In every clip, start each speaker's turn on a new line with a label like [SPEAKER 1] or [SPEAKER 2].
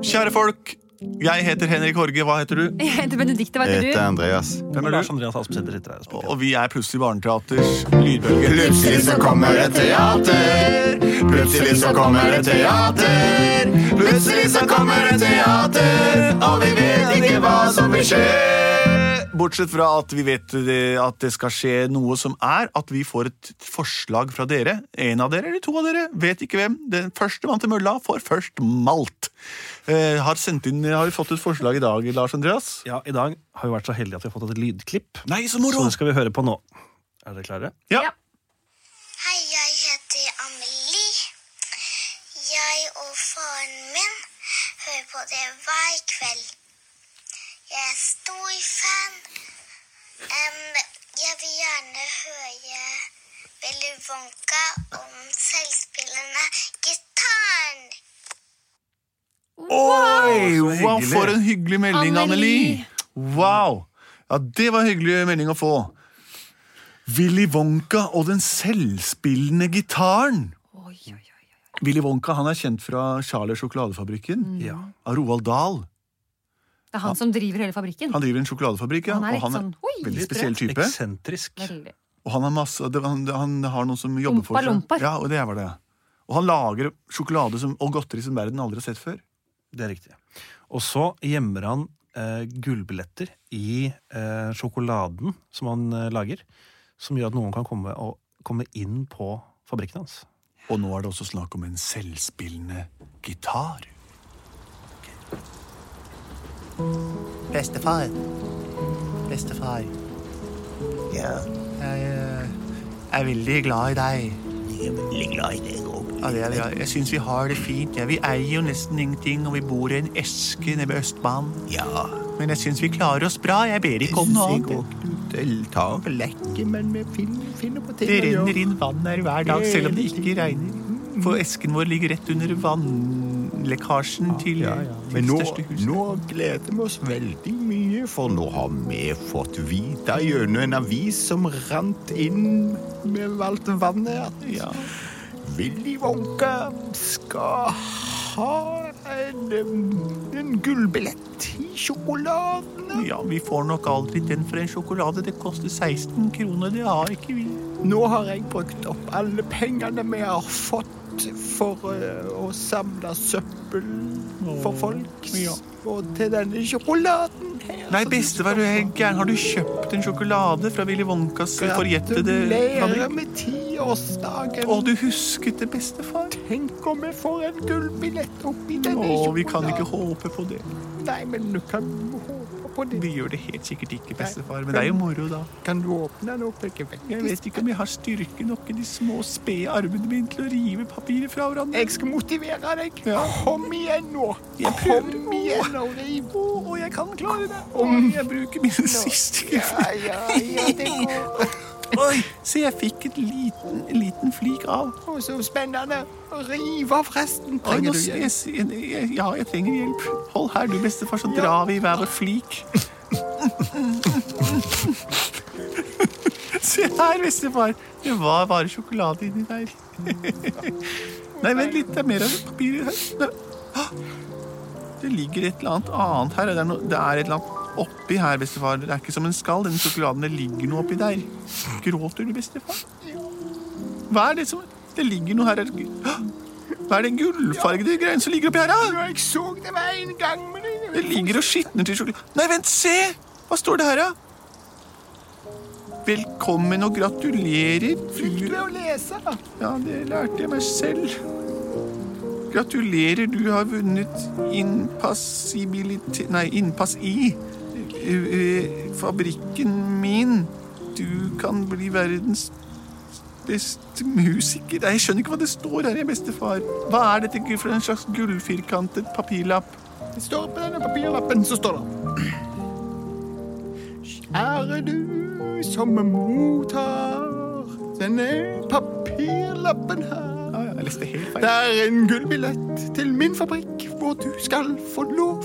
[SPEAKER 1] Kjære folk, jeg heter Henrik Horge. Hva heter du?
[SPEAKER 2] Jeg heter Benedikte, hva
[SPEAKER 3] Eh,
[SPEAKER 4] Jeg
[SPEAKER 2] heter
[SPEAKER 4] heter
[SPEAKER 2] du?
[SPEAKER 4] Andreas.
[SPEAKER 1] Hvem er
[SPEAKER 5] Lars
[SPEAKER 1] du?
[SPEAKER 5] Andreas Aspesæter heter jeg.
[SPEAKER 1] Og vi er plutselig Barneteaters lydbølge.
[SPEAKER 4] Plutselig så kommer et teater. Plutselig så kommer et teater. Plutselig så kommer et teater, og vi vet ikke hva som vil skje.
[SPEAKER 1] Bortsett fra at vi vet det, at det skal skje noe som er at vi får et forslag fra dere. En av dere eller to av dere, vet ikke hvem. Den første mann til mølla får først malt. Eh, har, sendt inn, har vi fått et forslag i dag, Lars Andreas?
[SPEAKER 5] Ja, I dag har vi vært så heldige at vi har fått et lydklipp.
[SPEAKER 1] Nei, så
[SPEAKER 5] Så
[SPEAKER 1] moro!
[SPEAKER 5] det skal vi høre på nå. Er dere klare?
[SPEAKER 1] Ja.
[SPEAKER 2] Ja.
[SPEAKER 6] Hei, jeg heter Amelie. Jeg og faren min hører på det hver kveld. Jeg er stor fan. Em, jeg vil gjerne høre Willy Wonka om selvspillende gitaren.
[SPEAKER 1] Oi, wow,
[SPEAKER 4] hyggelig.
[SPEAKER 1] for en hyggelig melding, Anneli.
[SPEAKER 2] Anneli.
[SPEAKER 1] Wow. Ja, det var en hyggelig melding å få. Willy Wonka og den selvspillende gitaren.
[SPEAKER 2] Oi, oi, oi.
[SPEAKER 1] Willy Wonka han er kjent fra Charlie og sjokoladefabrikken.
[SPEAKER 2] Mm.
[SPEAKER 5] Ja.
[SPEAKER 1] Av Roald Dahl.
[SPEAKER 2] Det er han som driver hele fabrikken.
[SPEAKER 1] Han driver en sjokoladefabrikk, ja.
[SPEAKER 2] Han er litt
[SPEAKER 1] og han er
[SPEAKER 2] sånn, oi,
[SPEAKER 1] veldig
[SPEAKER 2] litt
[SPEAKER 1] spesiell type.
[SPEAKER 5] Eksentrisk.
[SPEAKER 2] Veldig.
[SPEAKER 1] Og han, er masse, det, han, han har noen som jobber for seg.
[SPEAKER 2] Ompa-lomper.
[SPEAKER 1] Ja, og det var det. ja. Og han lager sjokolade som, og godteri som verden aldri har sett før.
[SPEAKER 5] Det er riktig. Og så gjemmer han eh, gullbilletter i eh, sjokoladen som han eh, lager, som gjør at noen kan komme, og, komme inn på fabrikken hans.
[SPEAKER 1] Og nå er det også snakk om en selvspillende gitar.
[SPEAKER 7] Bestefar. Bestefar.
[SPEAKER 3] Ja,
[SPEAKER 7] Jeg eh, er veldig glad i deg.
[SPEAKER 3] jeg er veldig glad i deg òg.
[SPEAKER 7] Ja, det er, jeg jeg syns vi har det fint. Ja. Vi eier jo nesten ingenting, og vi bor i en eske nede ved Østbanen.
[SPEAKER 3] Ja.
[SPEAKER 7] Men jeg syns vi klarer oss bra. Jeg ber ikke om
[SPEAKER 3] Synes
[SPEAKER 7] noe
[SPEAKER 3] jeg
[SPEAKER 7] annet.
[SPEAKER 3] òg. Du del- tar vel lekke, men vi finner, finner på ting
[SPEAKER 7] Det
[SPEAKER 3] å gjøre.
[SPEAKER 7] renner inn vann her hver dag, selv om det ikke regner. For esken vår ligger rett under vannlekkasjen til,
[SPEAKER 3] Ah, Ja, ja.
[SPEAKER 7] til
[SPEAKER 3] Men nå,
[SPEAKER 7] det største huset.
[SPEAKER 3] nå gleder vi oss veldig mye, for nå har vi fått vite gjennom en avis som rant inn med alt vannet at
[SPEAKER 7] Ja.
[SPEAKER 3] Willy Wonka skal ha en, en gullbillett i sjokoladene.
[SPEAKER 7] ja, vi får nok aldri den for en sjokolade. Det koster 16 kroner. Det har ikke vi.
[SPEAKER 3] Nå har jeg brukt opp alle pengene vi har fått for eh, å samle søppel for folk.
[SPEAKER 7] ja.
[SPEAKER 3] Og til denne sjokoladen her.
[SPEAKER 7] Nei,
[SPEAKER 3] som du
[SPEAKER 7] bestefar,
[SPEAKER 3] skal
[SPEAKER 7] du er
[SPEAKER 3] få.
[SPEAKER 7] helt gæren. Har du kjøpt en sjokolade fra Willy Wonkas forjettede
[SPEAKER 3] Gratulerer
[SPEAKER 7] fabrikk?
[SPEAKER 3] med tiårsdagen.
[SPEAKER 7] Å, du husket det, bestefar?
[SPEAKER 3] Tenk om vi får en gullbillett oppi denne
[SPEAKER 7] Å, vi kan ikke
[SPEAKER 3] sjokoladen.
[SPEAKER 7] håpe på det.
[SPEAKER 3] Nei, men du kan håpe på det.
[SPEAKER 7] Vi gjør det helt sikkert ikke, bestefar. Men det er jo moro, da.
[SPEAKER 3] Kan du åpne den opp? Jeg vet
[SPEAKER 7] Jeg vet
[SPEAKER 3] ikke.
[SPEAKER 7] ikke om jeg har styrke nok i de små, spede armene mine til å rive papiret fra hverandre.
[SPEAKER 3] Jeg skal motivere deg.
[SPEAKER 7] Ja.
[SPEAKER 3] Kom igjen nå.
[SPEAKER 7] Jeg prøver.
[SPEAKER 3] Kom igjen og riv.
[SPEAKER 7] Å, og jeg kan klare det. Å, jeg bruker mine siste
[SPEAKER 3] Ja,
[SPEAKER 7] krefter.
[SPEAKER 3] ja, ja, det går.
[SPEAKER 7] Oi, se, jeg fikk et liten, liten flik av.
[SPEAKER 3] Å, så spennende. Riv av resten.
[SPEAKER 7] Oi, nå
[SPEAKER 3] Trenger du
[SPEAKER 7] ser
[SPEAKER 3] hjelp?
[SPEAKER 7] jeg, jeg, jeg, ja, jeg trenger hjelp. Hold her, du bestefar, så drar vi i hver vår flik. Se her, bestefar. Det var bare sjokolade inni der. Nei, vent litt. Det er mer av det papiret her. Nei. Hå! Det ligger et eller annet annet her. Det er, noe- det er et eller annet oppi her, bestefar. Det er ikke som en skall. Den sjokoladen, det ligger noe oppi der. Gråter du, bestefar? Hva er det som Det ligger noe her. Er det- Hå! Hva er det gullfargede greiene som ligger oppi her? da?
[SPEAKER 3] Ja, Jeg så det var en gang, men jeg
[SPEAKER 7] Det ligger og skitner til sjokolade. Nei, vent, se! Hva står det her, da? Velkommen og gratulerer.
[SPEAKER 3] Slutt med
[SPEAKER 7] Du,
[SPEAKER 3] å lese.
[SPEAKER 7] ja, det lærte jeg meg selv. Gratulerer, du har vunnet innpassibilitet Nei, innpass i ø, ø, fabrikken min. Du kan bli verdens beste musiker. Nei, jeg skjønner ikke hva det står her, jeg, bestefar. Hva er dette for en slags gullfirkantet papirlapp?
[SPEAKER 3] Det står på denne papirlappen, så står det Kjære du som mottar denne papirlappen her.
[SPEAKER 7] Ja, ja, jeg leste helt feil.
[SPEAKER 3] Det er en gullbillett til min fabrikk, hvor du skal få lov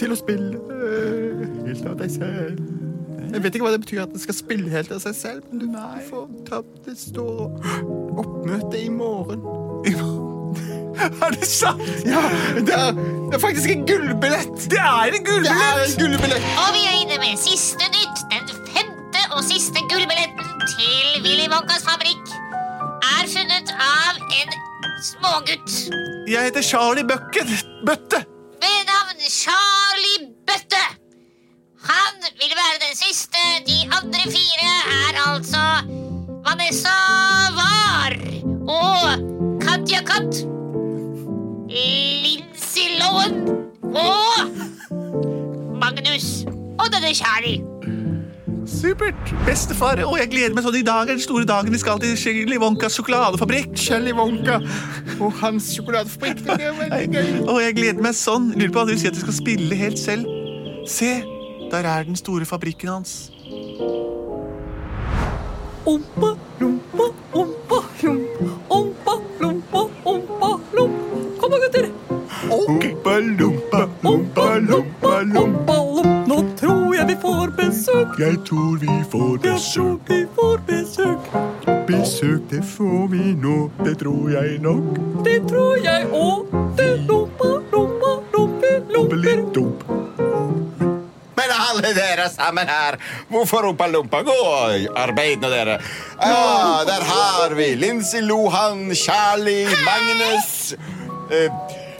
[SPEAKER 3] til å spille eh, helt av deg selv. Jeg vet ikke hva det betyr at den skal spille helt av seg selv, men du får ta det står oppmøte i morgen.
[SPEAKER 7] Er det sant?
[SPEAKER 8] Ja, det er, det er faktisk en gullbillett!
[SPEAKER 7] Det er
[SPEAKER 8] Det er
[SPEAKER 7] en
[SPEAKER 8] en
[SPEAKER 7] gullbillett!
[SPEAKER 8] gullbillett!
[SPEAKER 9] Og vi er inne med siste nytt, den femte og siste gullbilletten til Willy Wonkas fabrikk. Er funnet av en smågutt
[SPEAKER 7] Jeg heter Charlie Bucket. Bøtte.
[SPEAKER 9] ved navn Charlie Bøtte. Han vil være den siste. De andre fire er altså Vanessa Var og Katja Katt. Lincy Lowen og Magnus. Og denne Charlie.
[SPEAKER 7] Supert. Bestefar. Å, jeg gleder meg sånn i dag er den store dagen vi skal til Shelly Wonkas sjokoladefabrikk.
[SPEAKER 8] Shelly Wonka og hans sjokoladefabrikk. Det er veldig gøy.
[SPEAKER 7] Å, jeg gleder meg sånn. Lurer på hva du sier at du skal spille helt selv. Se, der er den store fabrikken hans.
[SPEAKER 2] Ompa, lompa, ompa, lomp. Ompa, lompa, ompa, lomp. Kom da, gutter.
[SPEAKER 8] Ompa, lumpa,
[SPEAKER 2] Ompa, lompa, ompa, lomp. Nå tror jeg vi får besøk.
[SPEAKER 8] Jeg tror vi får
[SPEAKER 2] Jeg tror vi får besøk.
[SPEAKER 8] Besøk, det får vi nå. Det tror jeg nok.
[SPEAKER 2] Det tror jeg òg. Det lompa, lompa, lompe, lomper.
[SPEAKER 8] dump.
[SPEAKER 3] Men alle dere sammen her, hvorfor Ompa Lompa? Gå og arbeid nå, dere. Ja, der har vi Lincy Lohan, Charlie, Magnus, eh,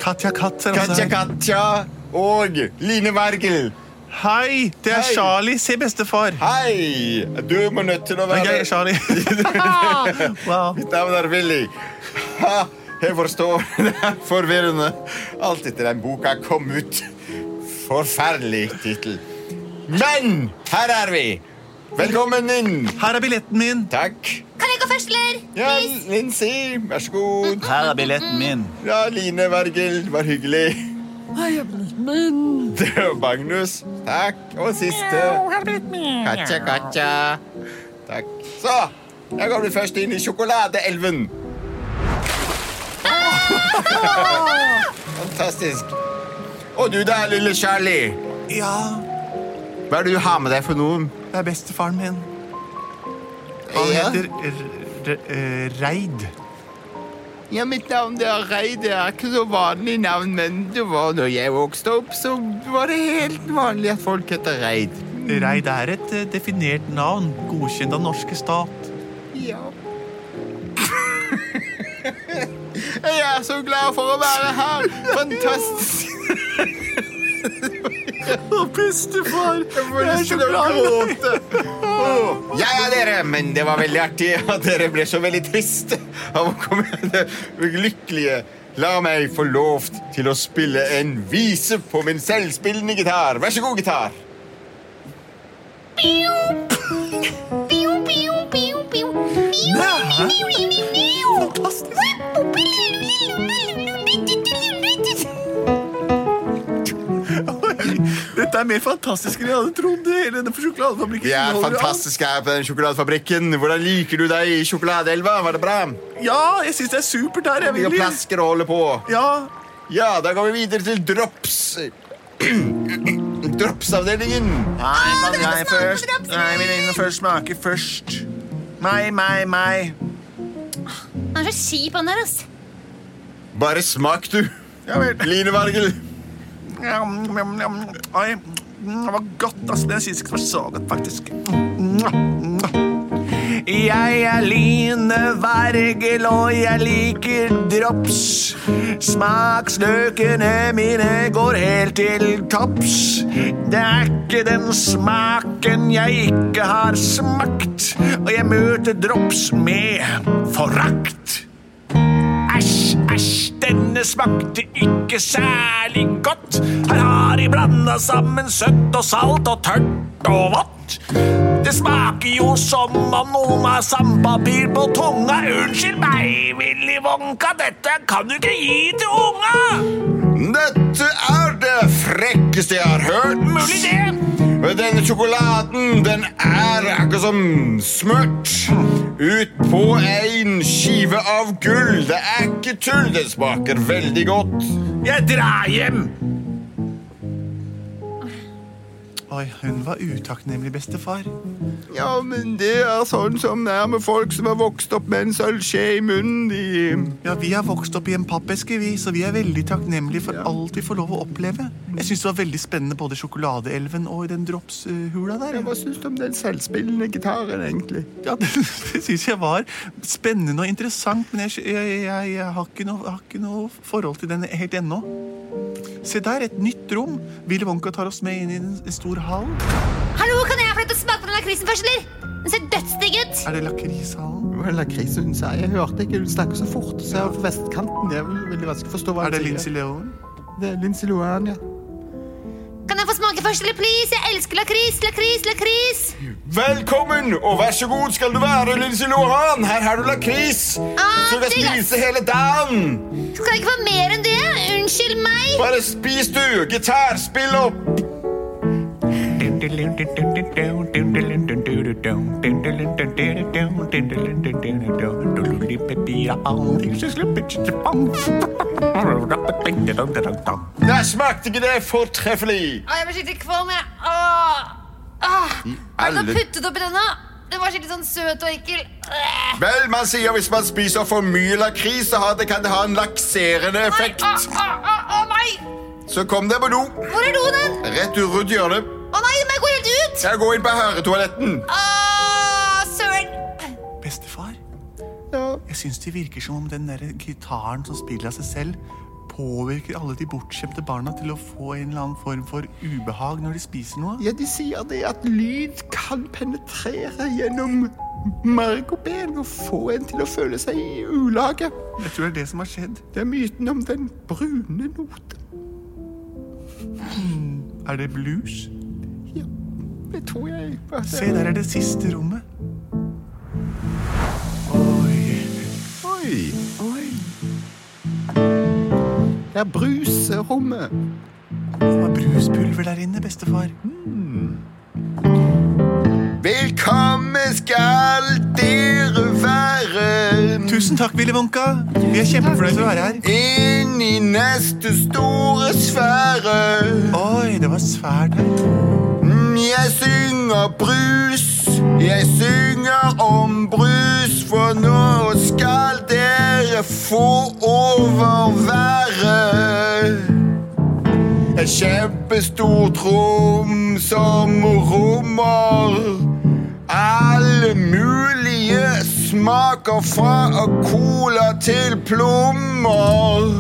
[SPEAKER 7] Katja Katt er altså
[SPEAKER 3] Katja
[SPEAKER 7] her.
[SPEAKER 3] Katja og Line Wergel.
[SPEAKER 7] Hei, det er
[SPEAKER 3] Hei.
[SPEAKER 7] Charlie. Se, bestefar.
[SPEAKER 3] Hei! Du må nødt til å
[SPEAKER 7] Nei,
[SPEAKER 3] være
[SPEAKER 7] jeg er Charlie. wow.
[SPEAKER 3] Mitt navn er Willy. Ha, jeg forstår. Det er forvirrende. Alt etter den boka kom ut. Forferdelig tittel. Men her er vi. Velkommen inn.
[SPEAKER 7] Her er billetten min.
[SPEAKER 3] Takk.
[SPEAKER 9] Kan jeg gå først, eller?
[SPEAKER 3] Ja, Lincy, vær så god.
[SPEAKER 7] Her er billetten min.
[SPEAKER 3] Ja, Line Wergel, var hyggelig. Det var Magnus. Takk. Og siste. Katja, Katja. Takk. Så, jeg går vel først inn i sjokoladeelven. Fantastisk. Og du da, lille Charlie.
[SPEAKER 7] Ja,
[SPEAKER 3] Hva er det du har med deg for noen?
[SPEAKER 7] det er bestefaren min. Han
[SPEAKER 3] Ja.
[SPEAKER 7] heter R- R- eh, Reid.
[SPEAKER 8] Ja, mitt navn det er Rei. Det er ikke så vanlig navn, men det var når jeg vokste opp, så var det helt vanlig at folk heter Reid.
[SPEAKER 7] Reid er et eh, definert navn, godkjent av norske stat.
[SPEAKER 8] Ja. Jeg er så glad for å være her. Fantastisk.
[SPEAKER 7] Å, bestefar!
[SPEAKER 3] Jeg har lyst til å gråte. Åh. Ja, ja, dere, men det var veldig artig at dere ble så veldig triste av å komme det lykkelige. La meg få lov til å spille en vise på min selvspillende gitar. Vær så god, gitar.
[SPEAKER 7] Dette er mer fantastisk enn jeg hadde trodd. Hele denne sjokoladefabrikken
[SPEAKER 3] Vi er
[SPEAKER 7] inneholder alt.
[SPEAKER 3] fantastiske her på den sjokoladefabrikken. Hvordan liker du deg i sjokoladeelva? Var det bra?
[SPEAKER 7] Ja, jeg syns det er supert her. Jeg
[SPEAKER 3] Vi
[SPEAKER 7] vil
[SPEAKER 3] har plasker å holde på.
[SPEAKER 7] Ja,
[SPEAKER 3] Ja, da går vi videre til drops... Dropsavdelingen.
[SPEAKER 7] Nei, kan jeg først? Nei, jeg vil inn og først smake først. Meg, meg, meg.
[SPEAKER 9] Han er så kjip, han der, ass.
[SPEAKER 3] Bare smak, du. Line Wergel.
[SPEAKER 7] Njam, njam, njam. Oi, mm, det var godt, altså. Jeg syns ikke det var så godt, faktisk. Jeg er Line Vergel, og jeg liker drops. Smaksløkene mine går helt til topps. Det er ikke den smaken jeg ikke har smakt, og jeg møter drops med forakt. Æsj, æsj, denne smakte ikke særlig godt. Her har de blanda sammen søtt og salt og tørt og vått. Det smaker jo som om noen har sandpapir på tunga. Unnskyld meg, Willy Wonka, dette kan du ikke gi til unga!
[SPEAKER 3] Dette er det frekkeste jeg har hørt.
[SPEAKER 7] Mulig det.
[SPEAKER 3] Denne sjokoladen den er akkurat som smørt ut på en skive av gull. Det er ikke tull. Det smaker veldig godt.
[SPEAKER 7] Jeg drar hjem. Oi, hun var utakknemlig, bestefar.
[SPEAKER 10] Ja, men det er sånn som det er med folk som har vokst opp med en sølvskje i munnen. De
[SPEAKER 7] Ja, Vi har vokst opp i en pappeske, vi, så vi er veldig takknemlige for alt vi får lov å oppleve. Jeg syns det var veldig spennende både i sjokoladeelven og i den dropshula der.
[SPEAKER 10] Hva syns du om den selvspillende gitaren, egentlig?
[SPEAKER 7] Ja, Det, det syns jeg var spennende og interessant, men jeg, jeg, jeg, jeg har, ikke noe, har ikke noe forhold til den helt ennå. Se der, et nytt rom. Willy Wonka tar oss med inn i en stor hall.
[SPEAKER 11] Hallo, kan jeg få lov til å smake på den lakrisen først, eller? Den ser dødsdigg ut.
[SPEAKER 7] Er det lakrishallen?
[SPEAKER 10] Hva er lakris hun sier? Jeg hørte ikke, hun snakker så fort. Så jeg er på vestkanten. Det er vel veldig vanskelig å forstå hva
[SPEAKER 7] Er det
[SPEAKER 10] hun
[SPEAKER 7] Lincy Leon?
[SPEAKER 10] Det er Lindsay Lohan, ja.
[SPEAKER 11] Kan jeg få smake først, eller please? Jeg elsker lakris, lakris, lakris.
[SPEAKER 3] Velkommen, og vær så god skal du være, Lindsay Lohan. Her har du lakris.
[SPEAKER 10] Ah,
[SPEAKER 3] Så du kan
[SPEAKER 11] digg, ass.
[SPEAKER 3] spise hele dagen.
[SPEAKER 11] Skal jeg ikke få mer enn det? Unnskyld meg.
[SPEAKER 3] Bare spis, du. Gitar, spill opp. Nei, smakte ikke det fortreffelig?
[SPEAKER 12] Å, jeg blir skikkelig kvalm, jeg. Åh. Åh. Hva er det du
[SPEAKER 3] alle-
[SPEAKER 12] har puttet oppi den, da? Den var skikkelig sånn søt og ekkel. Øh.
[SPEAKER 3] Vel, man sier hvis man spiser for mye lakris, så har det, kan det ha en lakserende effekt.
[SPEAKER 10] ah.
[SPEAKER 12] Åh, åh, åh, åh, nei!
[SPEAKER 3] Så kom deg på do.
[SPEAKER 12] Hvor er doen hen?
[SPEAKER 3] Rett ut rundt hjørnet.
[SPEAKER 12] Å nei, må jeg gå helt ut?
[SPEAKER 3] Jeg går inn på herretoaletten.
[SPEAKER 10] Ah.
[SPEAKER 12] Åh, søren.
[SPEAKER 7] Bestefar?
[SPEAKER 10] ja.
[SPEAKER 7] Jeg syns det virker som om den der gitaren som spiller av seg selv, påvirker alle de bortskjemte barna til å få en eller annen form for ubehag når de spiser noe.
[SPEAKER 10] Ja, de sier det at lyd kan penetrere gjennom marg og ben og få en til å føle seg i ulage.
[SPEAKER 7] Jeg tror det er det som har skjedd.
[SPEAKER 10] Det er myten om den brune noten.
[SPEAKER 7] Hmm. Er det blues?
[SPEAKER 10] Ja, det tror jeg. at det-
[SPEAKER 7] Se, der er det siste rommet. Oi.
[SPEAKER 3] Oi.
[SPEAKER 10] Oi. Det er bruserommet.
[SPEAKER 7] Det var bruspulver der inne, bestefar.
[SPEAKER 3] Velkommen skal dere være
[SPEAKER 7] Tusen takk, Willy Wonka. Vi er kjempefornøyd med å være her.
[SPEAKER 3] inn i neste store sfære.
[SPEAKER 7] Oi, det var svært her.
[SPEAKER 3] Mm, Jeg synger brus, jeg synger om brus, for nå skal dere få overvære. En kjempestor trom som rommer alle mulige smaker fra cola til plommer.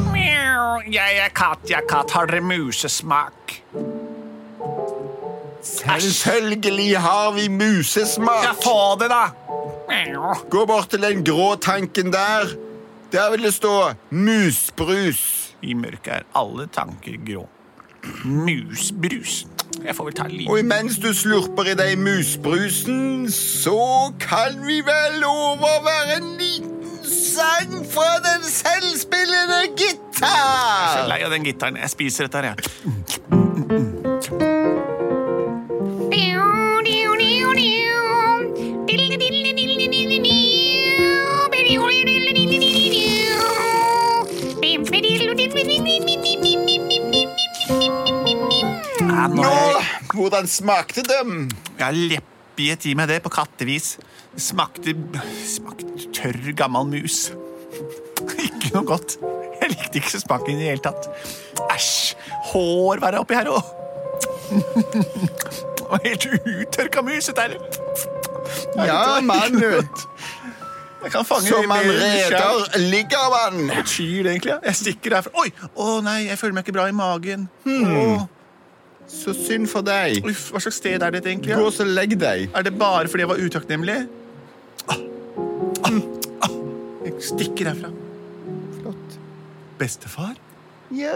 [SPEAKER 9] Jeg er katt, jeg er katt. Har dere musesmak?
[SPEAKER 3] Selvfølgelig har vi musesmak.
[SPEAKER 9] Ja, få det, da!
[SPEAKER 3] Gå bort til den grå tanken der. Der vil det stå musbrus.
[SPEAKER 9] I mørket er alle tanker grå. Musbrus. Jeg får vel ta litt
[SPEAKER 3] Og imens du slurper i deg musbrusen, så kan vi vel overvære en liten sang fra den selvspillende
[SPEAKER 9] Jeg er
[SPEAKER 3] gitar.
[SPEAKER 9] lei av den gitaren. Jeg spiser dette her, jeg. Ja,
[SPEAKER 3] Nå,
[SPEAKER 9] nå er jeg-
[SPEAKER 3] hvordan smakte dem?
[SPEAKER 9] jeg har leppet i meg det på kattevis. Det Smakte, smakte tørr, gammel mus. Ikke noe godt. Jeg likte ikke smaken i det hele tatt. Æsj! Hår var det oppi her òg. Og helt uttørka mus. Dette er
[SPEAKER 3] Ja, mann.
[SPEAKER 9] Jeg kan fange
[SPEAKER 3] Som man
[SPEAKER 9] mer skjær.
[SPEAKER 3] reder, ligger man.
[SPEAKER 9] Skyr, egentlig. ja. Jeg stikker herfra. Oi! Å nei, jeg føler meg ikke bra i magen.
[SPEAKER 3] Hmm.
[SPEAKER 9] Å,
[SPEAKER 3] Så synd for deg.
[SPEAKER 9] uff, hva slags sted er dette egentlig? ja?
[SPEAKER 3] Gå så legg deg.
[SPEAKER 9] Er det bare fordi jeg var utakknemlig? Ah, ah, ah. Jeg stikker herfra.
[SPEAKER 10] Flott.
[SPEAKER 7] Bestefar?
[SPEAKER 10] Ja,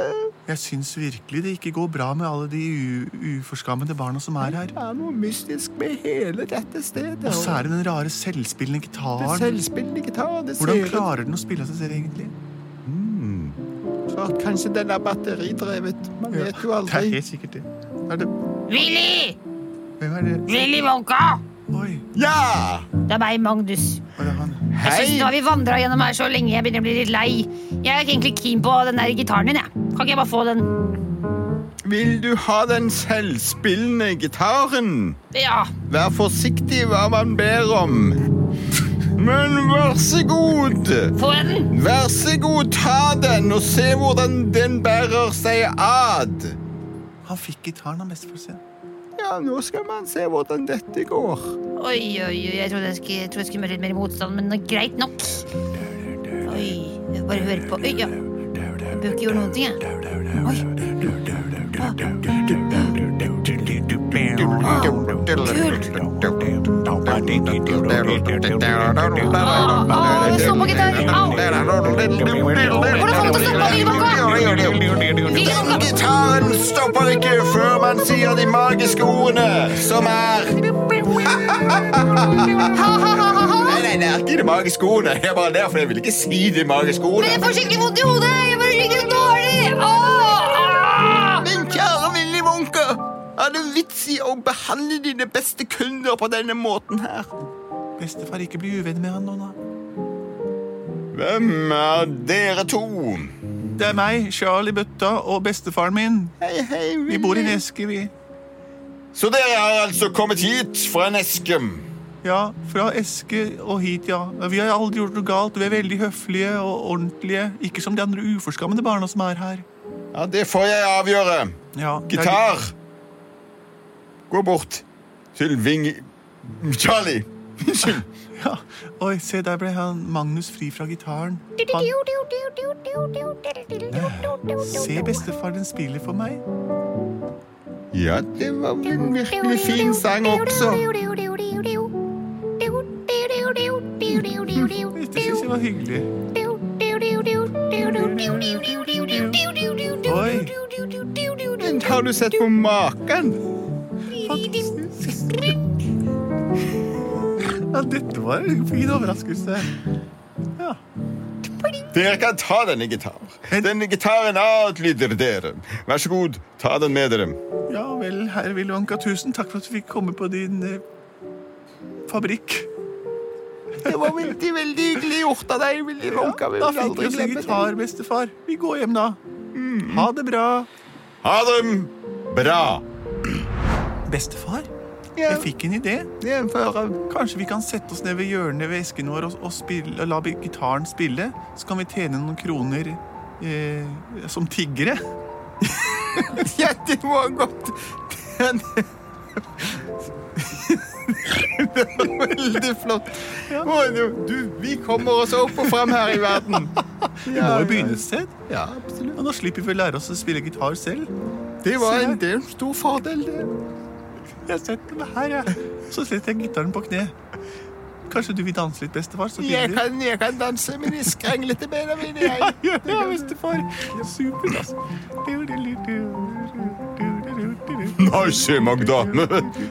[SPEAKER 7] Jeg syns virkelig det ikke går bra med alle de u uforskammede barna som er her.
[SPEAKER 10] det er noe mystisk med hele dette stedet.
[SPEAKER 7] Og særlig den rare selvspillende
[SPEAKER 10] Det
[SPEAKER 7] gitaren.
[SPEAKER 10] selvspillende gitar. Det
[SPEAKER 7] Hvordan
[SPEAKER 10] ser ut-
[SPEAKER 7] klarer den å spille av seg selv, egentlig?
[SPEAKER 3] Mm.
[SPEAKER 10] Klart, Kanskje den er batteridrevet. Man vet jo
[SPEAKER 7] Det er
[SPEAKER 10] aldri.
[SPEAKER 7] helt sikkert det. Er det
[SPEAKER 2] Willy!
[SPEAKER 7] hvem er det?
[SPEAKER 2] Willy Wonka!
[SPEAKER 7] Oi,
[SPEAKER 3] Ja!
[SPEAKER 2] Det er meg, Magnus.
[SPEAKER 7] var det han?
[SPEAKER 2] Jeg synes
[SPEAKER 3] Hei.
[SPEAKER 2] Nå har vi vandra gjennom her så lenge jeg begynner å bli litt lei. Jeg er ikke egentlig keen på den der gitaren din. jeg. Kan ikke jeg bare få den?
[SPEAKER 3] Vil du ha den selvspillende gitaren?
[SPEAKER 2] Ja.
[SPEAKER 3] Vær forsiktig hva man ber om. Men vær så god.
[SPEAKER 2] Få den.
[SPEAKER 3] Vær så god, ta den og se hvordan den bærer seg ad.
[SPEAKER 7] Han fikk gitaren av mestefar sin.
[SPEAKER 3] Ja, nå skal man se hvordan dette går.
[SPEAKER 2] Oi, oi, oi. Jeg trodde jeg skulle, trodde jeg skulle møte litt mer motstand, men greit nok. Oi. jeg Bare hør på. Oi, ja. Jeg bør ikke gjøre noen ting, jeg. Oi. Ah,
[SPEAKER 3] Gitaren stopper ikke før man sier de magiske ordene, som er
[SPEAKER 2] Ah,
[SPEAKER 3] Nei, nei, det er ikke de magiske ordene. Det er bare derfor jeg vil ikke si de magiske
[SPEAKER 2] Men jeg
[SPEAKER 3] ordene.
[SPEAKER 2] får skikkelig vondt i hodet! Jeg bare ligger dårlig! Åh, ah!
[SPEAKER 3] Min kjære Willy Wonka, er det vits i å behandle dine beste kunder på denne måten her?
[SPEAKER 7] Bestefar, ikke bli uvenn med han nå, da.
[SPEAKER 3] Hvem er dere to?
[SPEAKER 7] Det er meg, Charlie Bøtta, og bestefaren min.
[SPEAKER 3] Hei, hei,
[SPEAKER 7] Vi bor i en eske, vi.
[SPEAKER 3] Så dere er altså kommet hit fra en eske?
[SPEAKER 7] Ja, fra eske og hit, ja. Vi har aldri gjort noe galt. Vi er veldig høflige og ordentlige. Ikke som de andre uforskammede barna som er her.
[SPEAKER 3] Ja, det får jeg avgjøre.
[SPEAKER 7] Ja, det er
[SPEAKER 3] Gitar! Gå bort til Ving... Charlie! Unnskyld.
[SPEAKER 7] de- Ja. Oi, se, der ble han Magnus fri fra gitaren. Han, se, bestefar, den spiller for meg.
[SPEAKER 3] Ja, det var en virkelig fin sang også.
[SPEAKER 7] Det synes jeg var hyggelig. Oi.
[SPEAKER 3] Men har du sett på maken?
[SPEAKER 7] Ja, dette var en fin overraskelse.
[SPEAKER 3] Dere kan ta denne gitaren. Denne gitaren adlyder dere. Vær så god, ta den med dere.
[SPEAKER 7] Ja vel, herr Willy Wonka, tusen takk for at vi fikk komme på din eh, fabrikk.
[SPEAKER 13] Det var veldig, veldig hyggelig gjort av deg, Willy Wonka. Vi
[SPEAKER 7] Da
[SPEAKER 13] vil
[SPEAKER 7] fikk vi
[SPEAKER 13] aldri
[SPEAKER 7] oss en
[SPEAKER 13] glemme det. Mm.
[SPEAKER 7] gitar, bestefar. Vi går hjem, da. Ha det bra.
[SPEAKER 3] Ha det bra.
[SPEAKER 7] Bestefar,
[SPEAKER 13] Ja,
[SPEAKER 7] jeg fikk en idé.
[SPEAKER 13] det er for å
[SPEAKER 7] Kanskje vi kan sette oss ned ved hjørnet ved esken vår og, og, spille, og la gitaren spille? Så kan vi tjene noen kroner eh, som tiggere.
[SPEAKER 13] Ja, det var godt. Den Det var veldig flott.
[SPEAKER 3] Å, du- Du, vi kommer oss opp og fram her i verden.
[SPEAKER 7] Vi må jo begynne et sted.
[SPEAKER 13] Ja, absolutt.
[SPEAKER 7] Og nå slipper vi å lære oss å spille gitar selv.
[SPEAKER 13] Det var
[SPEAKER 7] Se her.
[SPEAKER 13] en, det er en stor fordel, det.
[SPEAKER 7] Jeg setter meg her, jeg. Så setter jeg gitaren på kne. Kanskje du vil danse litt, bestefar? Så
[SPEAKER 13] Jeg
[SPEAKER 7] begynner vi.
[SPEAKER 13] kan, jeg kan danse med de skranglete beina mine. Jeg.
[SPEAKER 7] Ja, ja, bestefar. Supert, altså.
[SPEAKER 3] Nei, se, Magda.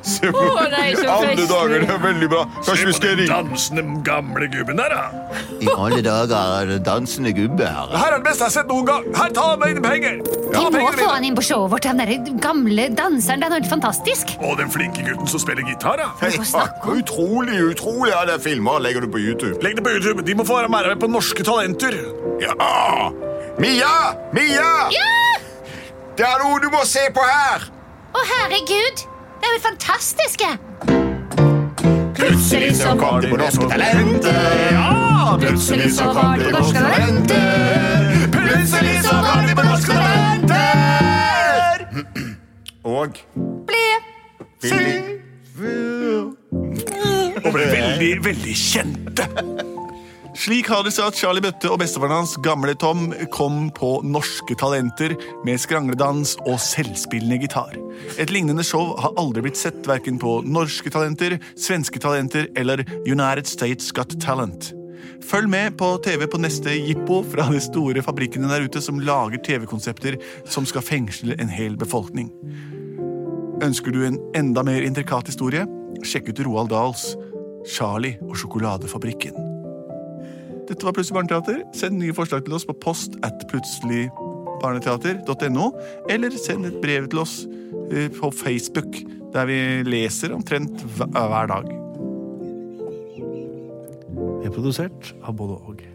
[SPEAKER 3] Se på
[SPEAKER 2] Å, nei, så
[SPEAKER 3] alle
[SPEAKER 2] festlig.
[SPEAKER 3] dager. Det er veldig bra. Kanskje vi skal ringe
[SPEAKER 4] dansende gamle gubben der, da.
[SPEAKER 3] I alle dager er det dansende gubbe her.
[SPEAKER 4] Her er det beste jeg har sett noen gang. Her, ta mine penger.
[SPEAKER 2] Vi må få han inn på showet vårt. Han derre gamle danseren. Det er helt fantastisk.
[SPEAKER 4] Og den flinke gutten som spiller gitar, da.
[SPEAKER 2] Hva snakker om?
[SPEAKER 3] Utrolig, utrolig. Ja, det er filmer. Legger du på YouTube?
[SPEAKER 4] Legg det på YouTube. De må få være med på Norske Talenter.
[SPEAKER 3] Ja! Mia! Mia! Det er noe du må se på her!
[SPEAKER 9] Å, herregud! Det er jo fantastisk! jeg.
[SPEAKER 3] Plutselig så kom det på Norske Talenter. Ja! Plutselig så kom det på Norske Talenter. Plutselig så kom det på Norske Talenter. Og
[SPEAKER 9] Ble
[SPEAKER 4] Og ble veldig, veldig kjente.
[SPEAKER 7] Slik har det seg at Charlie Bøtte og bestefaren hans, gamle Tom, kom på Norske Talenter med skrangledans og selvspillende gitar. Et lignende show har aldri blitt sett verken på Norske Talenter, Svenske Talenter eller United States Got Talent. Følg med på TV på neste jippo fra de store fabrikkene der ute som lager TV-konsepter som skal fengsle en hel befolkning. Ønsker du en enda mer intrikat historie? Sjekk ut Roald Dahls Charlie og sjokoladefabrikken. Dette var Plutselig barneteater. Send nye forslag til oss på post at plutseligbarneteater.no, eller send et brev til oss eh, på Facebook, der vi leser omtrent hver hver dag.
[SPEAKER 5] Vi er produsert av både og.